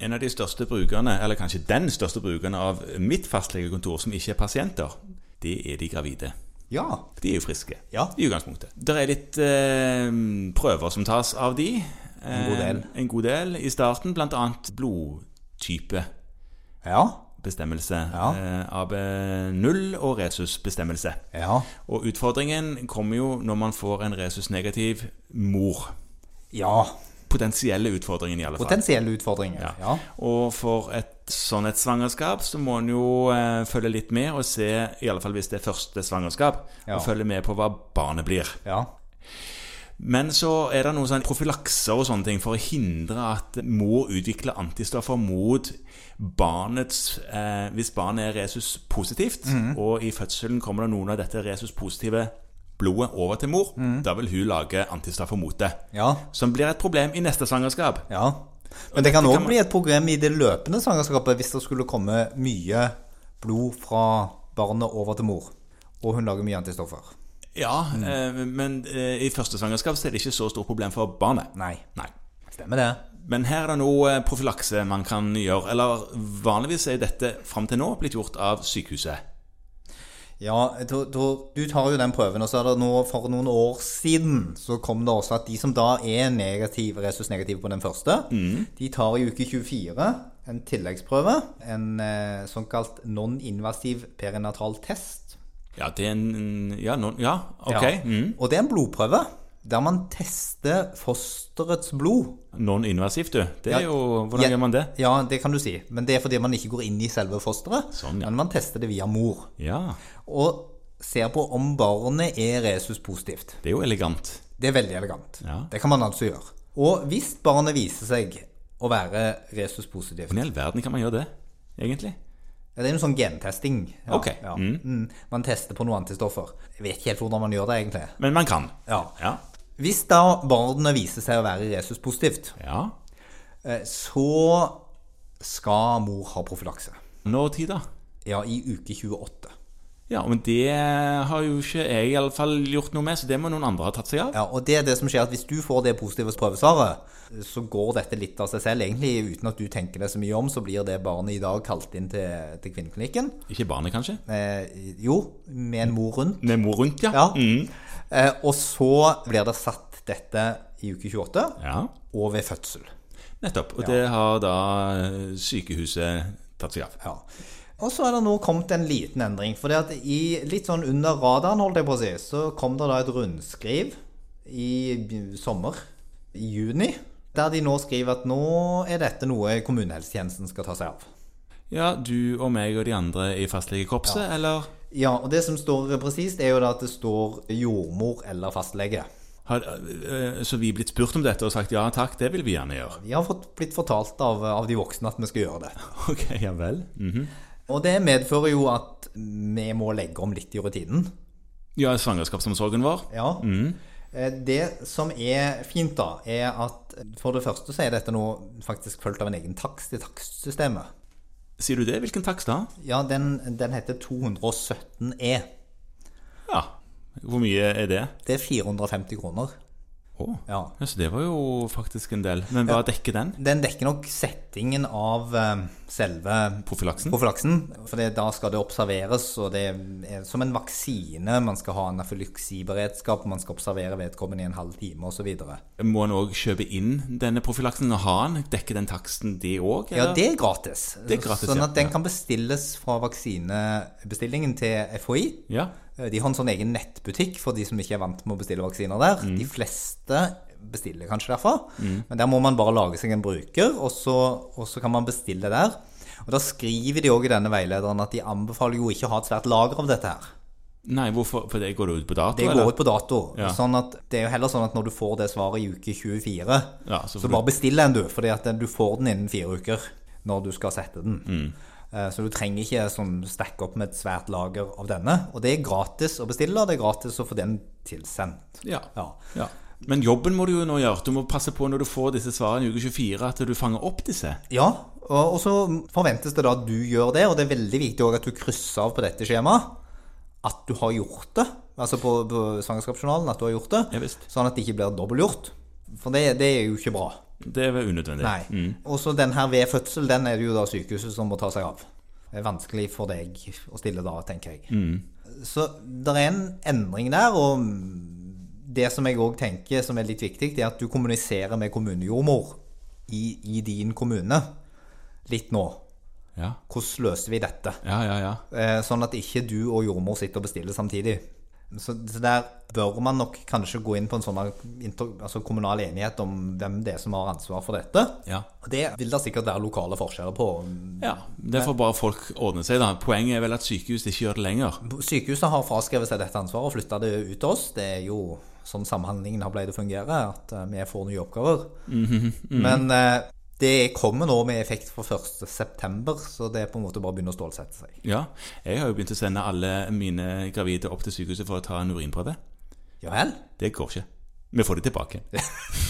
en av de største brukerne, eller kanskje den største brukerne av mitt fastlegekontor som ikke er pasienter, det er de gravide. Ja. De er jo friske Ja. i utgangspunktet. Det er litt eh, prøver som tas av de. En god del. Eh, en god del i starten, blant annet blodtypebestemmelse. Ja. Ja. Eh, AB0 og resusbestemmelse. Ja. Og utfordringen kommer jo når man får en resusnegativ mor. ja. Potensielle utfordringen, i alle fall. Potensielle utfordringer. Ja. Ja. Og for et sånn et svangerskap så må en jo eh, følge litt med og se, i alle fall hvis det er første svangerskap, Ja. og følge med på hva barnet blir. Ja. Men så er det noen sånn profylakser og sånne ting for å hindre at mor utvikler antistoffer mot barnets eh, Hvis barnet er resuspositivt, og i fødselen kommer det noen av dette resuspositive blodet over til mor, da vil hun lage antistoffer mot det. Ja. Som blir et problem i neste svangerskap. ja. Men det kan òg man- bli et problem i det løpende svangerskapet hvis det skulle komme mye blod fra barnet over til mor, og hun lager mye antistoffer. Ja, Mm. eh, men eh, i første svangerskap så er det ikke så stort problem for barnet. Nei. Nei. Stemmer det. Men her er det noe eh, profylakse man kan gjøre. Eller vanligvis er dette fram til nå blitt gjort av sykehuset. Ja, jeg tror- tror- du tar jo den prøven, og så er det nå for noen år siden så kom det også at de som da er negative, resus-negative på den første, Mm. de tar i uke 24 en tilleggsprøve, en eh, såkalt non-invasiv perinatal test. Ja, det er en Ja, noen- ja ok. Ja. Mm. Og det er en blodprøve der man tester fosterets blod. Non-invasivt, du. Det er Ja. jo Hvordan Ja. gjør man det? Ja, det kan du si, men det er fordi man ikke går inn i selve fosteret, Sånn, ja. men man tester det via mor. Ja. Og ser på om barnet er resus-positivt. Det er jo elegant. Det er veldig elegant. Ja. Det kan man altså gjøre. Og hvis barnet viser seg å være resuspositivt Hvordan i all verden kan man gjøre det, egentlig? ja, Det er jo en sånn gentesting. Ja, Ok. Ja. Mm. Mm. Man tester på noen antistoffer. Jeg vet ikke helt hvordan man gjør det, egentlig. Men man kan. Ja. Ja. Hvis da barnet viser seg å være resuspositivt, ja. eh, så skal mor ha profylakse. Når tid, da? Ja, i uke 28. Ja, men det har jo ikke jeg i alle fall gjort noe med, så det må noen andre ha tatt seg av. Ja, og det er det som skjer at Hvis du får det positive prøvesvaret, så går dette litt av seg selv. egentlig, Uten at du tenker deg så mye om, så blir det barnet i dag kalt inn til, til kvinneklinikken. Ikke barnet, kanskje? Eh, jo, med en mor rundt. Med mor rundt, ja. Ja. Mm. Eh, og så blir det satt dette i uke 28, ja. og ved fødsel. Nettopp. Og det har da eh, sykehuset tatt seg av. Ja. Og så er det nå kommet en liten endring. For det at i, litt sånn under radaren, holdt jeg på å si, så kom det da et rundskriv i b- sommer, i juni, der de nå skriver at nå er dette noe kommunehelsetjenesten skal ta seg av. Ja, du og meg og de andre i fastlegekorpset, eller Ja, og det som står presist, er jo da at det står jordmor eller fastlege. har, eh, Så vi blitt spurt om dette og sagt ja takk, det vil vi gjerne gjøre. Vi har fått, blitt fortalt av, av de voksne at vi skal gjøre det. Ok, ja vel. Mhm. Og det medfører jo at vi må legge om litt i rutinen. Ja, svangerskapsomsorgen vår. Ja. Mhm. Eh, Det som er fint, da, er at for det første så er dette nå faktisk fulgt av en egen takst i takstsystemet. Sier du det? Hvilken takst da? Ja, den, den heter 217 E. Ja. Hvor mye er det? Det er 450 kroner. Å, Ja. ja, så det var jo faktisk en del. Men hva dekker den? Den dekker nok settingen av eh, selve Profylaksen? profylaksen. For det, da skal det observeres, og det er som en vaksine. Man skal ha anafylaksiberedskap, man skal observere vedkommende i en halv time osv. Må en òg kjøpe inn denne profylaksen og ha den? Dekker den taksten, det òg? Ja, det er gratis. Det er gratis, sånn ja. at den Ja. kan bestilles fra vaksinebestillingen til FHI. Ja. De har en sånn egen nettbutikk for de som ikke er vant med å bestille vaksiner der. Mm. De fleste bestiller kanskje derfra, men der må man bare lage seg en bruker, og så, og så kan man bestille der. Og da skriver de òg i denne veilederen at de anbefaler jo ikke å ha et svært lager av dette her. Nei, hvorfor? For det går jo ut på dato, Det går ut på dato. Ja. Sånn at det er jo heller sånn at når du får det svaret i uke 24, Ja, så så, får du- bare bestill den, du. Fordi at den- du får den innen fire uker når du skal sette den. Mm. Eh, Så du trenger ikke sånn stack opp med et svært lager av denne. Og det er gratis å bestille, og det er gratis å få den tilsendt. Ja. Ja. Ja. Men jobben må du jo nå gjøre. Du må passe på når du får disse svarene i uke 24, at du fanger opp disse. Ja, og og så forventes det da at du gjør det, og det er veldig viktig også at du krysser av på dette skjemaet at du har gjort det. Altså på, på svangerskapsjournalen at du har gjort det. Ja, visst. Sånn at det ikke blir dobbeltgjort. For det, det er jo ikke bra. Det er vel unødvendig. Nei. Og så den her ved fødsel, den er det jo da sykehuset som må ta seg av. Det er vanskelig for deg å stille da, tenker jeg. Så det er en endring der, og det som jeg òg tenker som er litt viktig, det er at du kommuniserer med kommunejordmor i, i din kommune litt nå. Ja. Hvordan løser vi dette? ja, ja, ja. Eh, Sånn at ikke du og jordmor sitter og bestiller samtidig. Så, så der bør man nok kanskje gå inn på en sånn her inter, altså kommunal enighet om hvem det er som har ansvar for dette. Ja. Og Det vil det sikkert være lokale forskjeller på. ja. Det får bare folk ordne seg, da. Poenget er vel at sykehus ikke gjør det lenger. Sykehuset har fraskrevet seg dette ansvaret og flytta det ut til oss. Det er jo sånn samhandlingen har pleid å fungere, at eh, vi får nye oppgaver. Men eh, det kommer nå med effekt fra 1.9., så det er på en måte bare å begynne å stålsette seg. Ja. Jeg har jo begynt å sende alle mine gravide opp til sykehuset for å ta en urinprøve. Ja vel? Det går ikke. Vi får det tilbake.